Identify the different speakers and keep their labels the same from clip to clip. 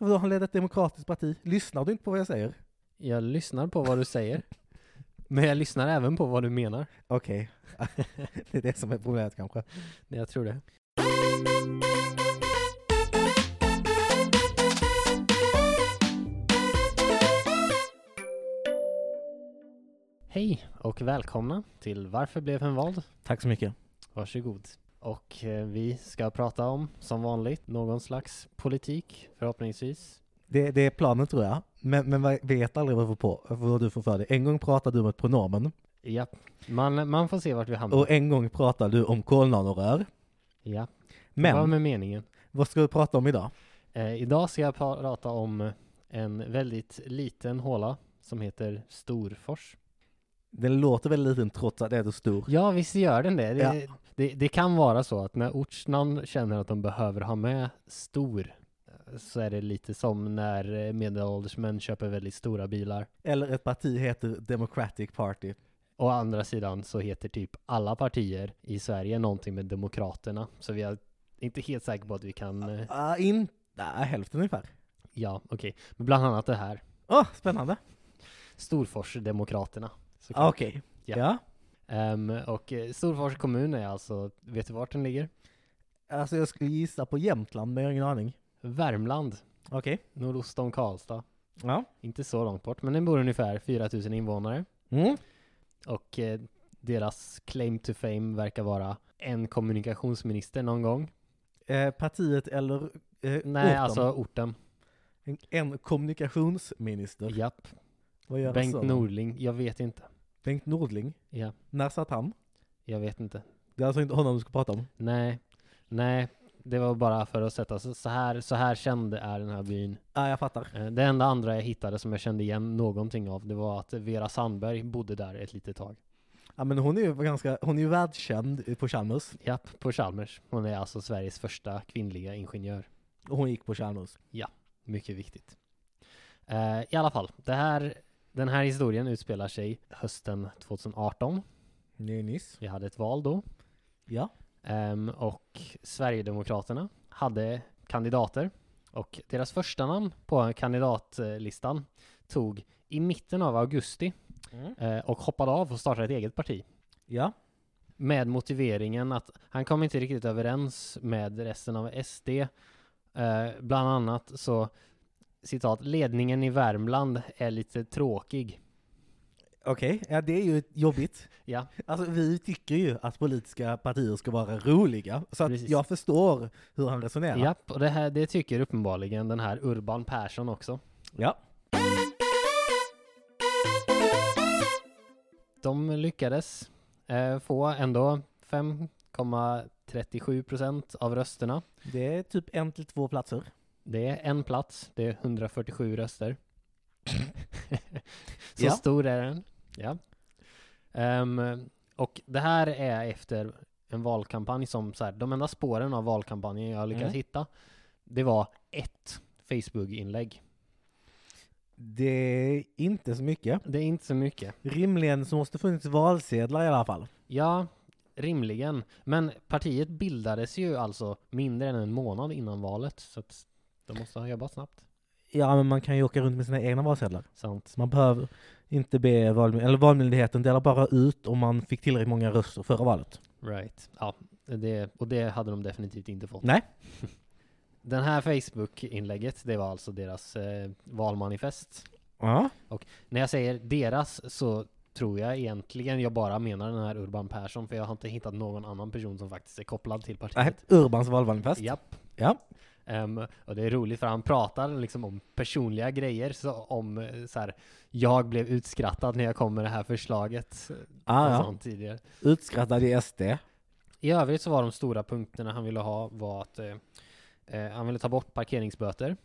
Speaker 1: Och då han ledde ett demokratiskt parti. Lyssnar du inte på vad jag säger?
Speaker 2: Jag lyssnar på vad du säger. men jag lyssnar även på vad du menar.
Speaker 1: Okej. det är det som är problemet kanske.
Speaker 2: Jag tror det. Hej och välkomna till Varför blev han vald?
Speaker 1: Tack så mycket.
Speaker 2: Varsågod. Och eh, vi ska prata om, som vanligt, någon slags politik förhoppningsvis.
Speaker 1: Det, det är planen tror jag. Men, men jag vet aldrig vad, du får på, vad du får för dig. En gång pratade du om ett pronomen.
Speaker 2: Ja, man, man får se vart vi hamnar.
Speaker 1: Och en gång pratade du om kolnanrör.
Speaker 2: ja, det var
Speaker 1: Men
Speaker 2: med meningen.
Speaker 1: vad ska vi prata om idag?
Speaker 2: Eh, idag ska jag prata om en väldigt liten håla som heter Storfors.
Speaker 1: Den låter väldigt liten trots att det är så stor.
Speaker 2: Ja, visst gör den det. Det,
Speaker 1: Ja.
Speaker 2: det. det kan vara så att när ortsnamn känner att de behöver ha med stor eh, så är det lite som när eh, medelålders män köper väldigt stora bilar.
Speaker 1: Eller ett parti heter Democratic Party.
Speaker 2: Å andra sidan så heter typ alla partier i Sverige någonting med Demokraterna. Så vi är inte helt säkra på att vi kan... eh,
Speaker 1: Ah, in, ah, hälften ungefär.
Speaker 2: Ja, okej. Men bland annat det här.
Speaker 1: Åh, spännande.
Speaker 2: Storforsdemokraterna. såklart.
Speaker 1: Ah, Okej.
Speaker 2: Ja.
Speaker 1: Ja.
Speaker 2: Ehm, och eh, Storfors kommun är alltså, vet du vart den ligger?
Speaker 1: Alltså jag skulle gissa på Jämtland, men jag har ingen aning.
Speaker 2: Värmland,
Speaker 1: Okej.
Speaker 2: nordost om Karlstad.
Speaker 1: Ja.
Speaker 2: Inte så långt bort, men den bor ungefär 4000 invånare.
Speaker 1: Mm.
Speaker 2: Och eh, deras claim to fame verkar vara en kommunikationsminister någon gång.
Speaker 1: Eh, partiet eller eh,
Speaker 2: Nej,
Speaker 1: orten.
Speaker 2: alltså orten.
Speaker 1: En, en kommunikationsminister.
Speaker 2: Japp.
Speaker 1: Vad gör han
Speaker 2: Bengt
Speaker 1: så?
Speaker 2: Norling, jag vet inte.
Speaker 1: Bengt Nordling.
Speaker 2: Ja,
Speaker 1: När satt han?
Speaker 2: jag vet inte.
Speaker 1: Det är alltså inte honom du ska prata om.
Speaker 2: Nej, nej. Det var bara för att sätta så så här, så här känd är den här byn.
Speaker 1: Ja, jag fattar.
Speaker 2: Eh, Det enda andra jag hittade som jag kände igen någonting av, det var att Vera Sandberg bodde där ett litet tag.
Speaker 1: Ja, men hon är ju ganska, hon är ju världskänd på Chalmers.
Speaker 2: Japp, på Chalmers. Hon är alltså Sveriges första kvinnliga ingenjör.
Speaker 1: Och hon gick på Chalmers.
Speaker 2: Mycket viktigt. Eh, I alla fall, det här, den här historien utspelar sig hösten 2018.
Speaker 1: Nej, nyss.
Speaker 2: Vi hade ett val då.
Speaker 1: Ja.
Speaker 2: Ehm, och Sverigedemokraterna hade kandidater och deras första namn på kandidatlistan tog i mitten av augusti eh, och hoppade av och startade ett eget parti.
Speaker 1: Ja.
Speaker 2: Med motiveringen att han kom inte riktigt överens med resten av SD. Eh, bland annat så, citat, ledningen i Värmland är lite tråkig.
Speaker 1: Okej, ja det är ju jobbigt.
Speaker 2: Ja,
Speaker 1: Alltså vi tycker ju att politiska partier ska vara roliga, så att
Speaker 2: Precis.
Speaker 1: jag förstår hur han resonerar.
Speaker 2: japp, och det, här, det tycker uppenbarligen den här Urban Persson också.
Speaker 1: Ja.
Speaker 2: De lyckades eh, få ändå 5,37 procent av rösterna.
Speaker 1: Det är typ en till två platser.
Speaker 2: Det är en plats, det är 147 röster. Så
Speaker 1: Ja.
Speaker 2: stor är den. Ja. Ehm, och det här är efter en valkampanj som, så här, de enda spåren av valkampanjen jag har lyckats
Speaker 1: Mm.
Speaker 2: hitta, det var ett Facebook-inlägg.
Speaker 1: Det är inte så mycket.
Speaker 2: Det är inte så mycket.
Speaker 1: Rimligen så måste det funnits valsedlar i alla fall.
Speaker 2: Ja, rimligen. Men partiet bildades ju alltså mindre än en månad innan valet, så att de måste ha jobbat snabbt.
Speaker 1: Ja, men man kan ju åka runt med sina egna valsedlar.
Speaker 2: Sant.
Speaker 1: Man behöver inte be valmy- eller valmyndigheten delar bara ut om man fick tillräckligt många röster förra valet.
Speaker 2: Right. Ja, det, och det hade de definitivt inte fått.
Speaker 1: Nej.
Speaker 2: Den här Facebook-inlägget, det var alltså deras eh, valmanifest.
Speaker 1: Ja.
Speaker 2: När jag säger deras så tror jag egentligen jag bara menar den här Urban Persson, för jag har inte hittat någon annan person som faktiskt är kopplad till
Speaker 1: Nej,
Speaker 2: partiet.
Speaker 1: Urbans valmanifest.
Speaker 2: Japp.
Speaker 1: Ja.
Speaker 2: Ehm, och det är roligt för han pratar liksom om personliga grejer, så om eh, så här, jag blev utskrattad när jag kom med det här förslaget. eh,
Speaker 1: Ah,
Speaker 2: och
Speaker 1: ja.
Speaker 2: sånt tidigare.
Speaker 1: Utskrattad i SD.
Speaker 2: I övrigt så var de stora punkterna han ville ha var att eh, eh, han ville ta bort parkeringsböter.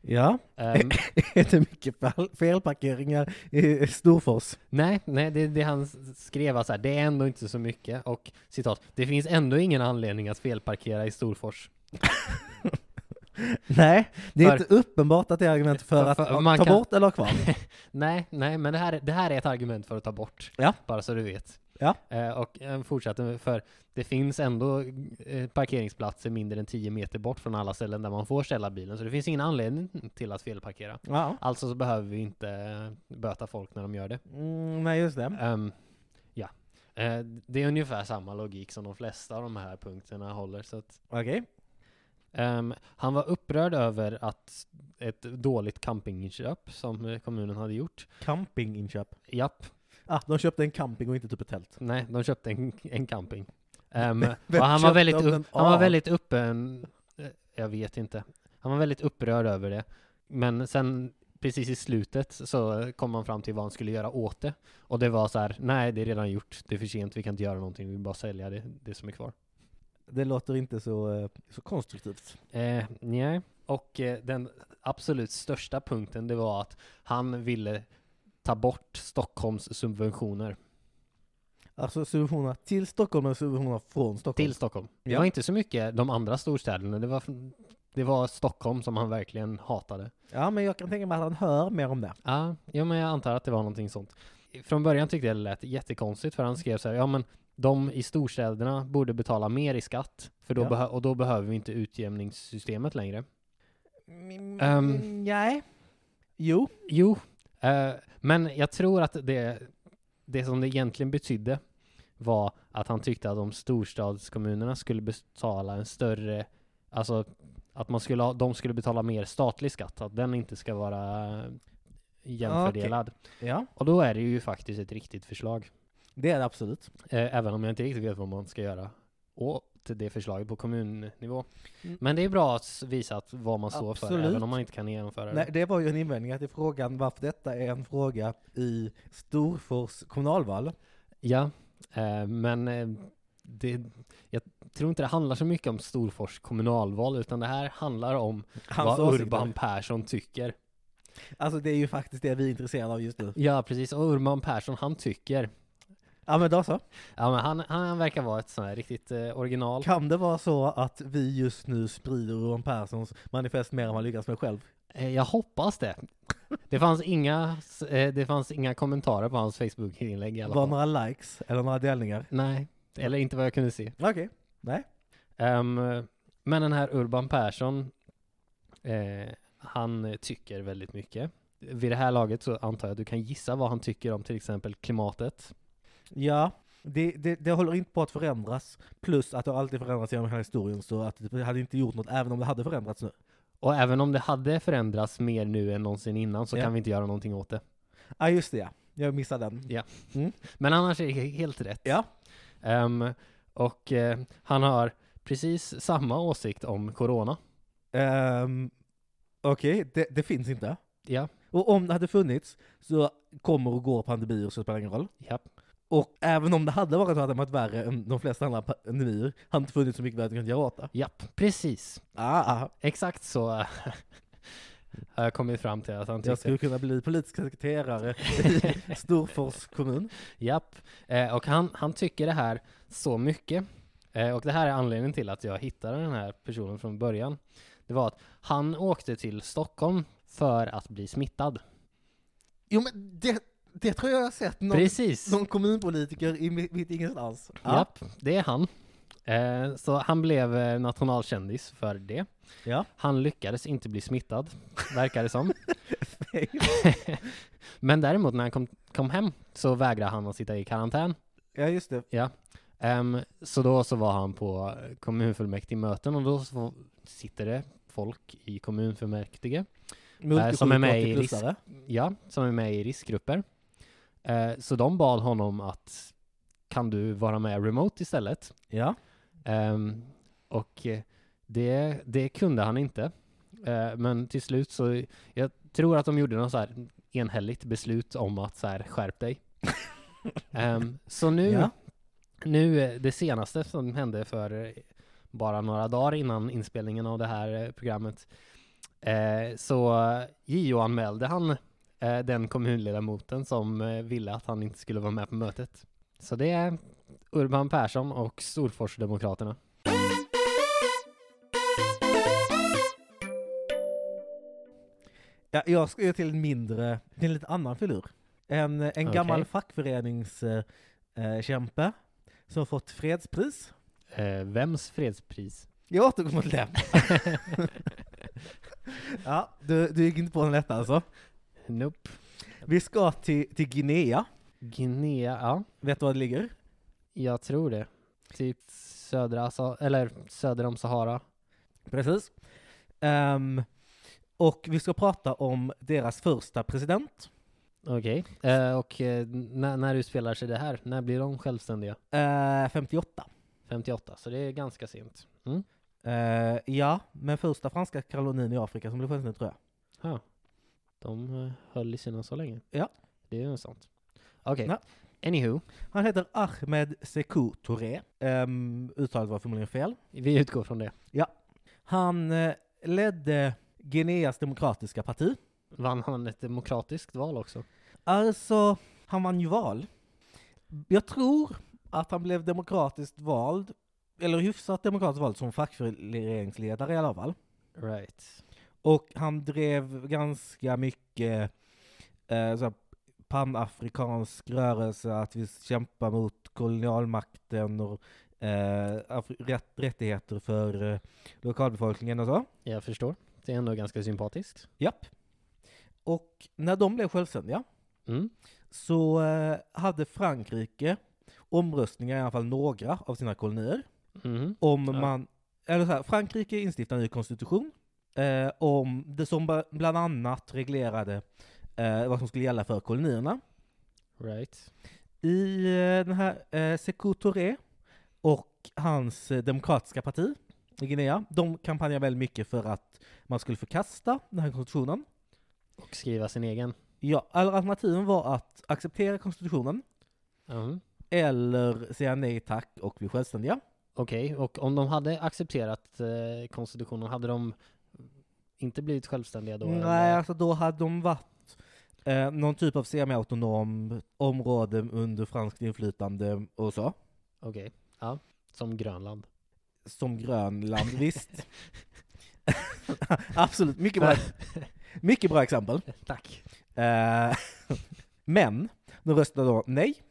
Speaker 1: Ja.
Speaker 2: Ehm,
Speaker 1: Är det mycket fel- felparkeringar i Storfors?
Speaker 2: nej, nej det, det han s- skrev var så här, det är ändå inte så mycket och citat, det finns ändå ingen anledning att felparkera i Storfors.
Speaker 1: Nej, det är
Speaker 2: För-
Speaker 1: inte uppenbart att det är argument för,
Speaker 2: För-
Speaker 1: att
Speaker 2: för-
Speaker 1: ta
Speaker 2: man kan-
Speaker 1: bort eller ha kvar.
Speaker 2: Nej, nej, men det här, det här är ett argument för att ta bort.
Speaker 1: Ja.
Speaker 2: Bara så du vet.
Speaker 1: Ja.
Speaker 2: Eh, och eh, fortsatte med- för det finns ändå eh, parkeringsplatser mindre än 10 meter bort från alla ställen där man får ställa bilen, så det finns ingen anledning till att felparkera.
Speaker 1: Ja.
Speaker 2: Alltså så behöver vi inte eh, böta folk när de gör det.
Speaker 1: Mm, nej, just det.
Speaker 2: Ehm, ja. Eh, det är ungefär samma logik som de flesta av de här punkterna håller. Så att,
Speaker 1: Okej.
Speaker 2: ehm, han var upprörd över att ett dåligt campinginköp som eh, kommunen hade gjort.
Speaker 1: Campinginköp.
Speaker 2: Japp,
Speaker 1: Ah, de köpte en camping och inte typ ett tält.
Speaker 2: nej, de köpte en, en camping. Ehm,
Speaker 1: vem
Speaker 2: och han
Speaker 1: köpte
Speaker 2: var väldigt,
Speaker 1: den
Speaker 2: upp, han var
Speaker 1: av?
Speaker 2: väldigt öppen, eh, jag vet inte. Han var väldigt upprörd över det. Men sen precis i slutet så kom han fram till vad han skulle göra åt det. Och det var så här, nej det är redan gjort, det är för sent, vi kan inte göra någonting, vi vill bara sälja det, det som är kvar.
Speaker 1: Det låter inte så, eh, så konstruktivt.
Speaker 2: Eh, nej. Och eh, den absolut största punkten det var att han ville ta bort Stockholms subventioner
Speaker 1: Alltså subventionerna till Stockholm och subventionerna från Stockholm.
Speaker 2: till Stockholm. Det
Speaker 1: Ja.
Speaker 2: var inte så mycket de andra storstäderna, det var, det var Stockholm som han verkligen hatade.
Speaker 1: Ja, men jag kan tänka mig att han hör mer om det.
Speaker 2: Ja, ja, men jag antar att det var någonting sånt. Från början tyckte jag det lät jättekonstigt för han skrev så här, ja men de i storstäderna borde betala mer i skatt för då
Speaker 1: Ja.
Speaker 2: behö- och då behöver vi inte utjämningssystemet längre.
Speaker 1: Mm,
Speaker 2: Ehm.
Speaker 1: Nej. Jo.
Speaker 2: Jo, eh, men jag tror att det, det som det egentligen betydde var att han tyckte att de storstadskommunerna skulle betala en större, alltså att man skulle ha, de skulle betala mer statlig skatt, att den inte ska
Speaker 1: Ah,
Speaker 2: vara eh, jämfördelad.
Speaker 1: Ja,
Speaker 2: Och då är det ju faktiskt ett riktigt förslag.
Speaker 1: det är det absolut.
Speaker 2: Eh, även om jag inte riktigt vet vad man ska göra åt det förslaget på kommunnivå.
Speaker 1: Mm.
Speaker 2: Men det är bra att s- visa att vad man står
Speaker 1: Absolut.
Speaker 2: för, även om man inte kan genomföra
Speaker 1: Nej,
Speaker 2: det.
Speaker 1: det var ju en invändning att i frågan varför detta är en fråga i Storfors kommunalval.
Speaker 2: Ja, eh, men eh, det, jag tror inte det handlar så mycket om Storfors kommunalval, utan det här handlar om
Speaker 1: Hans
Speaker 2: vad
Speaker 1: åsikter.
Speaker 2: Urban Persson tycker.
Speaker 1: Alltså det är ju faktiskt det vi är intresserade av just nu.
Speaker 2: Ja, precis. Och Urban Persson, han tycker.
Speaker 1: Ja men då så.
Speaker 2: Ja, men han, han verkar vara ett sånt här riktigt eh, original.
Speaker 1: Kan det vara så att vi just nu sprider Johan Perssons manifest mer än man lyckas med själv?
Speaker 2: Eh, jag hoppas det. Det fanns inga, s- eh, det fanns inga kommentarer på hans Facebook-inlägg i alla
Speaker 1: Var
Speaker 2: fall.
Speaker 1: några likes eller några delningar?
Speaker 2: Nej, eller inte vad jag kunde se.
Speaker 1: Okej.
Speaker 2: Ehm, men den här Urban Persson, eh, han tycker väldigt mycket. Vid det här laget så antar jag att du kan gissa vad han tycker om till exempel klimatet.
Speaker 1: Ja, det, det, det håller inte på att förändras. Plus att det har alltid förändrats genom hela historien så att det hade inte gjort något även om det hade förändrats nu.
Speaker 2: Och även om det hade förändrats mer nu än någonsin innan så
Speaker 1: Ja.
Speaker 2: kan vi inte göra någonting åt det.
Speaker 1: Ja ah, just det ja, jag missade den.
Speaker 2: Men annars är det helt rätt.
Speaker 1: Ja.
Speaker 2: Ehm, och eh, han har precis samma åsikt om corona.
Speaker 1: Ehm, Okej, det, det finns inte.
Speaker 2: Ja,
Speaker 1: Och om det hade funnits så kommer och går pandemier så det spelar ingen roll.
Speaker 2: ja.
Speaker 1: Och även om det hade varit så hade det varit värre än de flesta andra pandemier, hade inte funnits så mycket värre att göra åt det.
Speaker 2: Japp, precis.
Speaker 1: Ah, ah.
Speaker 2: Exakt så har jag kommit fram till att han tyckte.
Speaker 1: Jag skulle kunna bli politisk sekreterare i Storfors kommun.
Speaker 2: Japp, eh, och han, han tycker det här så mycket. Eh, och det här är anledningen till att jag hittade den här personen från början. Det var att han åkte till Stockholm för att bli smittad.
Speaker 1: Jo men det, det tror jag jag har sett någon,
Speaker 2: Precis!
Speaker 1: någon kommunpolitiker i mi- mitt ingenstans. Ja.
Speaker 2: Japp, det är han. Eh, så han blev eh, nationalkändis för det.
Speaker 1: Ja.
Speaker 2: Han lyckades inte bli smittad, verkar det som. Men däremot när han kom, kom hem så vägrade han att sitta i karantän.
Speaker 1: ja, just det.
Speaker 2: Ehm, så då så var han på kommunfullmäktigemöten och då så sitter det folk i kommunfullmäktige, Äh, som är med i
Speaker 1: 80-plussare.
Speaker 2: ja, som är med i riskgrupper. Eh, så de bad honom att kan du vara med remote istället?
Speaker 1: Ja.
Speaker 2: Ehm, och eh, det, det kunde han inte. Eh, men till slut så, jag tror att de gjorde något så här enhälligt beslut om att så här skärp dig. Ehm, så nu
Speaker 1: ja.
Speaker 2: nu, eh, det senaste som hände för eh, bara några dagar innan inspelningen av det här eh, programmet, eh, så eh, JO-anmälde han eh, den kommunledamoten som eh, ville att han inte skulle vara med på mötet. Så det är Urban Persson och Storforsdemokraterna.
Speaker 1: Ja, jag ska ju till en mindre, till en lite annan filur. En, en
Speaker 2: Okej.
Speaker 1: gammal fackförenings... eh, eh, kämpe som fått fredspris.
Speaker 2: Eh, vems fredspris?
Speaker 1: Jag återkommer till det. ja, du, du gick inte på den lätta alltså.
Speaker 2: Nope.
Speaker 1: Vi ska till, till Guinea.
Speaker 2: Guinea, ja.
Speaker 1: Vet du var det ligger?
Speaker 2: Jag tror det. Typ södra, Sa- eller söder om Sahara.
Speaker 1: Precis. Ehm, och vi ska prata om deras första president.
Speaker 2: Okej. Eh, och eh, när, när utspelar sig det här? När blir de självständiga?
Speaker 1: Eh, 58.
Speaker 2: 58, så det är ganska sent. Mm.
Speaker 1: Eh, ja, men första franska kolonin i Afrika som blev självständig tror jag.
Speaker 2: Ja. De eh, höll i sina så länge.
Speaker 1: Ja.
Speaker 2: Det är ju sant. Okej.
Speaker 1: Ja.
Speaker 2: Anywho,
Speaker 1: Han heter Ahmed Sekou Touré. Ehm, uttalet var förmodligen fel.
Speaker 2: vi utgår från det.
Speaker 1: Han eh, ledde Guineas demokratiska parti.
Speaker 2: Vann han ett demokratiskt val också?
Speaker 1: Alltså, han vann ju val. Jag tror att han blev demokratiskt vald, eller hyfsat demokratiskt vald som fackföreningsledare i alla fall.
Speaker 2: Right.
Speaker 1: Och han drev ganska mycket eh, så här, panafrikansk rörelse, att vi kämpar mot kolonialmakten och eh, afri- rätt, rättigheter för eh, lokalbefolkningen och så.
Speaker 2: Jag förstår. Det är ändå ganska sympatiskt.
Speaker 1: Japp. Och när de blev självständiga
Speaker 2: Mm.
Speaker 1: så eh, hade Frankrike omröstningar, i alla fall några av sina kolonier,
Speaker 2: Mhm.
Speaker 1: om
Speaker 2: Ja.
Speaker 1: man, eller så här, Frankrike instiftar en ny konstitution, eh, om det som ba- bland annat reglerade eh, vad som skulle gälla för kolonierna.
Speaker 2: Right.
Speaker 1: I eh, den här eh, Sékou Touré och hans eh, demokratiska parti i Guinea, de kampanjade väldigt mycket för att man skulle förkasta den här konstitutionen.
Speaker 2: Och skriva sin egen.
Speaker 1: Ja, all- alternativen var att acceptera konstitutionen,
Speaker 2: Mhm.
Speaker 1: eller säga nej tack och bli självständiga.
Speaker 2: Okej, och om de hade accepterat eh, konstitutionen, hade de inte blivit självständiga då?
Speaker 1: Nej,
Speaker 2: eller?
Speaker 1: alltså då hade de varit eh, någon typ av semi-autonom område under franskt inflytande och så.
Speaker 2: Okej, ja. Som Grönland.
Speaker 1: Som Grönland, visst. Absolut, mycket bra, mycket bra exempel.
Speaker 2: Tack.
Speaker 1: Eh, men, de röstade då nej.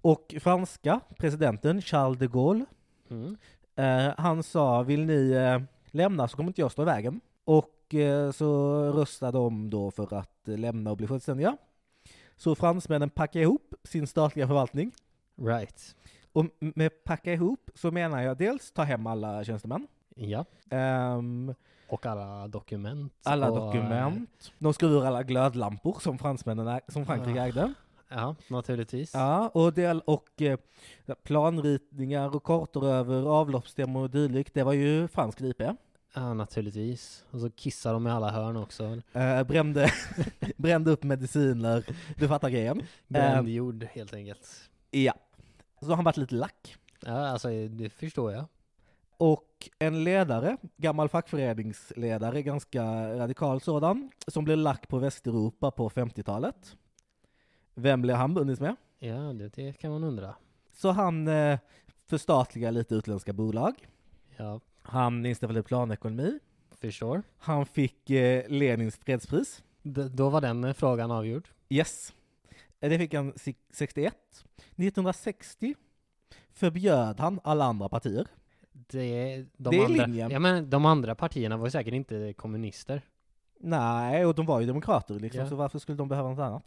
Speaker 1: Och franska presidenten Charles de Gaulle
Speaker 2: Mm.
Speaker 1: Eh, han sa, vill ni eh, lämna så kommer inte jag stå i vägen. Och eh, så röstade de då för att eh, lämna och bli självständiga. Så fransmännen packade ihop sin statliga förvaltning.
Speaker 2: Right.
Speaker 1: Och m- med packa ihop så menar jag dels ta hem alla tjänstemän,
Speaker 2: Ja.
Speaker 1: ehm,
Speaker 2: Och alla dokument.
Speaker 1: alla
Speaker 2: och,
Speaker 1: dokument, de skrev ur alla glödlampor som fransmännen äg- som Frankrike
Speaker 2: Ah.
Speaker 1: ägde.
Speaker 2: eh, Ja, naturligtvis.
Speaker 1: Ja, och, del, och eh, planritningar och kartor över avloppsdemo och dylikt, det var ju fransk IP.
Speaker 2: Ja, naturligtvis. Och så kissar de i alla hörn också.
Speaker 1: Eh, brände, brände upp mediciner, du fattar grejen.
Speaker 2: Bränd jord helt enkelt.
Speaker 1: Ja. Så har han varit lite lack.
Speaker 2: Ja, alltså det förstår jag.
Speaker 1: Och en ledare, gammal fackföreningsledare, ganska radikal sådan, som blev lack på Västeuropa på 50-talet. Vem blev han bundis med?
Speaker 2: Ja, det, det kan man undra.
Speaker 1: Så han eh, förstatligar lite utländska bolag.
Speaker 2: Ja,
Speaker 1: Han installerade planekonomi.
Speaker 2: förstår.
Speaker 1: Han fick eh, Lenins fredspris.
Speaker 2: D- då var den eh, frågan avgjord.
Speaker 1: Yes. Eh, Det fick han si- 61. 1960 förbjöd han alla andra partier.
Speaker 2: Det, de
Speaker 1: Det är
Speaker 2: andra,
Speaker 1: linjen.
Speaker 2: Ja, men de andra partierna var ju säkert inte kommunister.
Speaker 1: Nej, och de var ju demokrater liksom,
Speaker 2: Ja.
Speaker 1: så varför skulle de behöva något annat?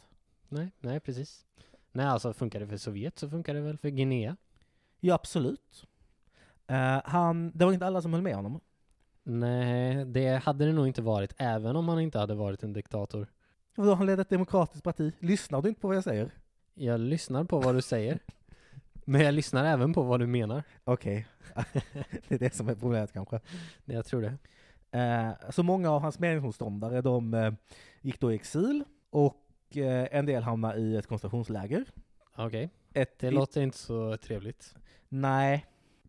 Speaker 2: Nej, nej precis. Nej, alltså funkar det för Sovjet så funkar det väl för Guinea?
Speaker 1: Ja, absolut. Eh, han, det var inte alla som höll med honom.
Speaker 2: Nej, det hade det nog inte varit, även om han inte hade varit en diktator.
Speaker 1: Vadå, han ledde ett demokratiskt parti. Lyssnar du inte på vad jag säger?
Speaker 2: Jag lyssnar på vad du säger, men jag lyssnar även på vad du menar.
Speaker 1: Okej. det är det som är problemet kanske.
Speaker 2: Jag tror det.
Speaker 1: Eh, så många av hans meningsmotståndare, de eh, gick då i exil och eh, en del hamnade i ett koncentrationsläger.
Speaker 2: Okej,
Speaker 1: Ett
Speaker 2: det låter inte så trevligt.
Speaker 1: Nej,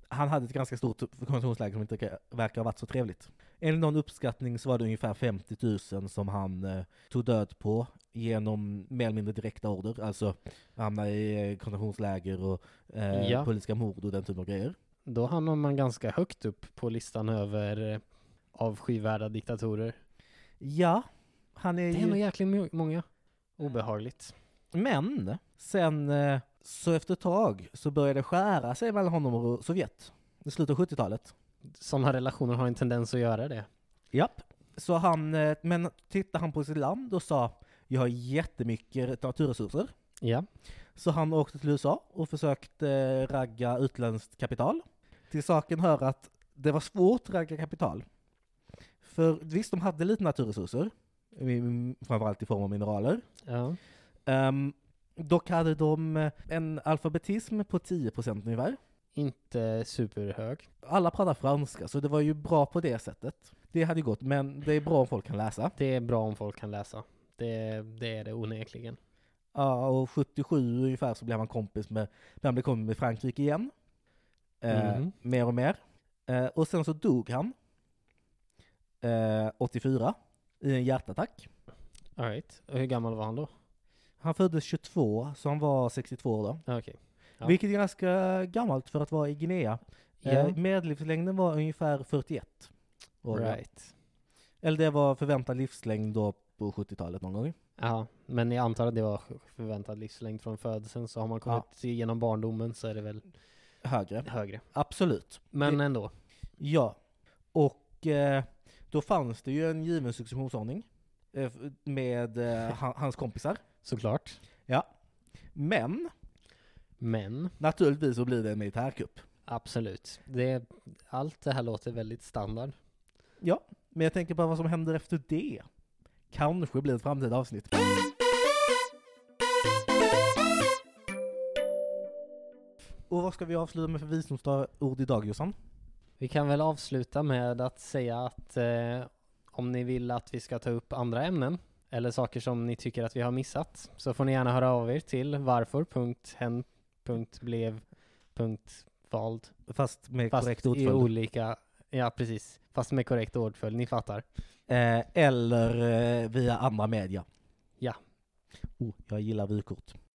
Speaker 1: han hade ett ganska stort koncentrationsläger som inte verkar ha varit så trevligt. Enligt någon uppskattning så var det ungefär 50 000 som han eh, tog död på genom mer eller mindre direkta order, alltså hamna i eh, koncentrationsläger och eh,
Speaker 2: Ja.
Speaker 1: politiska mord och den typen av grejer.
Speaker 2: Då hamnar man ganska högt upp på listan över eh, avskyvärda diktatorer.
Speaker 1: Ja, han är
Speaker 2: Det är nog
Speaker 1: ju...
Speaker 2: jäkligt mo- många. Obehagligt.
Speaker 1: Men sen eh, Så efter ett tag så började det skära sig mellan honom och Sovjet i slutet av 70-talet.
Speaker 2: Sådana relationer har en tendens att göra det.
Speaker 1: Japp. Så han, eh, men tittade han på sitt land och sa jag har jättemycket naturresurser.
Speaker 2: Ja.
Speaker 1: Så han åkte till USA och försökte eh, ragga utländskt kapital. Till saken hör att det var svårt att ragga kapital. För visst, de hade lite naturresurser, mm, framförallt i form av mineraler.
Speaker 2: ja.
Speaker 1: Ehm, dock hade de eh, en alfabetism på 10% ungefär.
Speaker 2: Inte superhög.
Speaker 1: Alla pratar franska, så det var ju bra på det sättet. Det hade ju gått, men det är bra om folk kan läsa.
Speaker 2: Det är bra om folk kan läsa. Det, det är det onekligen.
Speaker 1: Ja, och 77 ungefär så blev han kompis med, han blev kompis med Frankrike igen. Eh,
Speaker 2: Mhm.
Speaker 1: Mer och mer. Eh, och sen så dog han. Eh, 84. I en hjärtattack.
Speaker 2: All right. Och hur gammal var han då?
Speaker 1: Han föddes 22, så han var 62 då.
Speaker 2: Ja, Okej. Ja.
Speaker 1: Vilket är ganska gammalt för att vara i Guinea.
Speaker 2: Ja.
Speaker 1: Eh, medellivslängden var ungefär 41 år.
Speaker 2: Right.
Speaker 1: Eller det var förväntad livslängd då på 70-talet någon gång.
Speaker 2: Ja, men jag antar att det var förväntad livslängd från födseln, så har man kommit genom barndomen så är det väl
Speaker 1: Högre.
Speaker 2: högre.
Speaker 1: Absolut.
Speaker 2: Men ändå.
Speaker 1: Ja, och eh, då fanns det ju en given successionsordning eh, f- med eh, ha- hans kompisar.
Speaker 2: Såklart.
Speaker 1: Men
Speaker 2: Men,
Speaker 1: naturligtvis så blir det en militärkupp.
Speaker 2: absolut. Det, allt det här låter väldigt standard.
Speaker 1: Men jag tänker bara vad som händer efter det. Kanske blir ett framtida avsnitt. Och vad ska vi avsluta med för visdomsord idag Jossan?
Speaker 2: Vi kan väl avsluta med att säga att eh, om ni vill att vi ska ta upp andra ämnen eller saker som ni tycker att vi har missat så får ni gärna höra av er till varför.hen.blev.vald
Speaker 1: Fast med
Speaker 2: fast
Speaker 1: korrekt
Speaker 2: i
Speaker 1: ordföljd.
Speaker 2: olika, ja precis, fast med korrekt ordföljd, ni fattar.
Speaker 1: Eh, eller eh, via andra media.
Speaker 2: Ja.
Speaker 1: Oh, jag gillar vykort.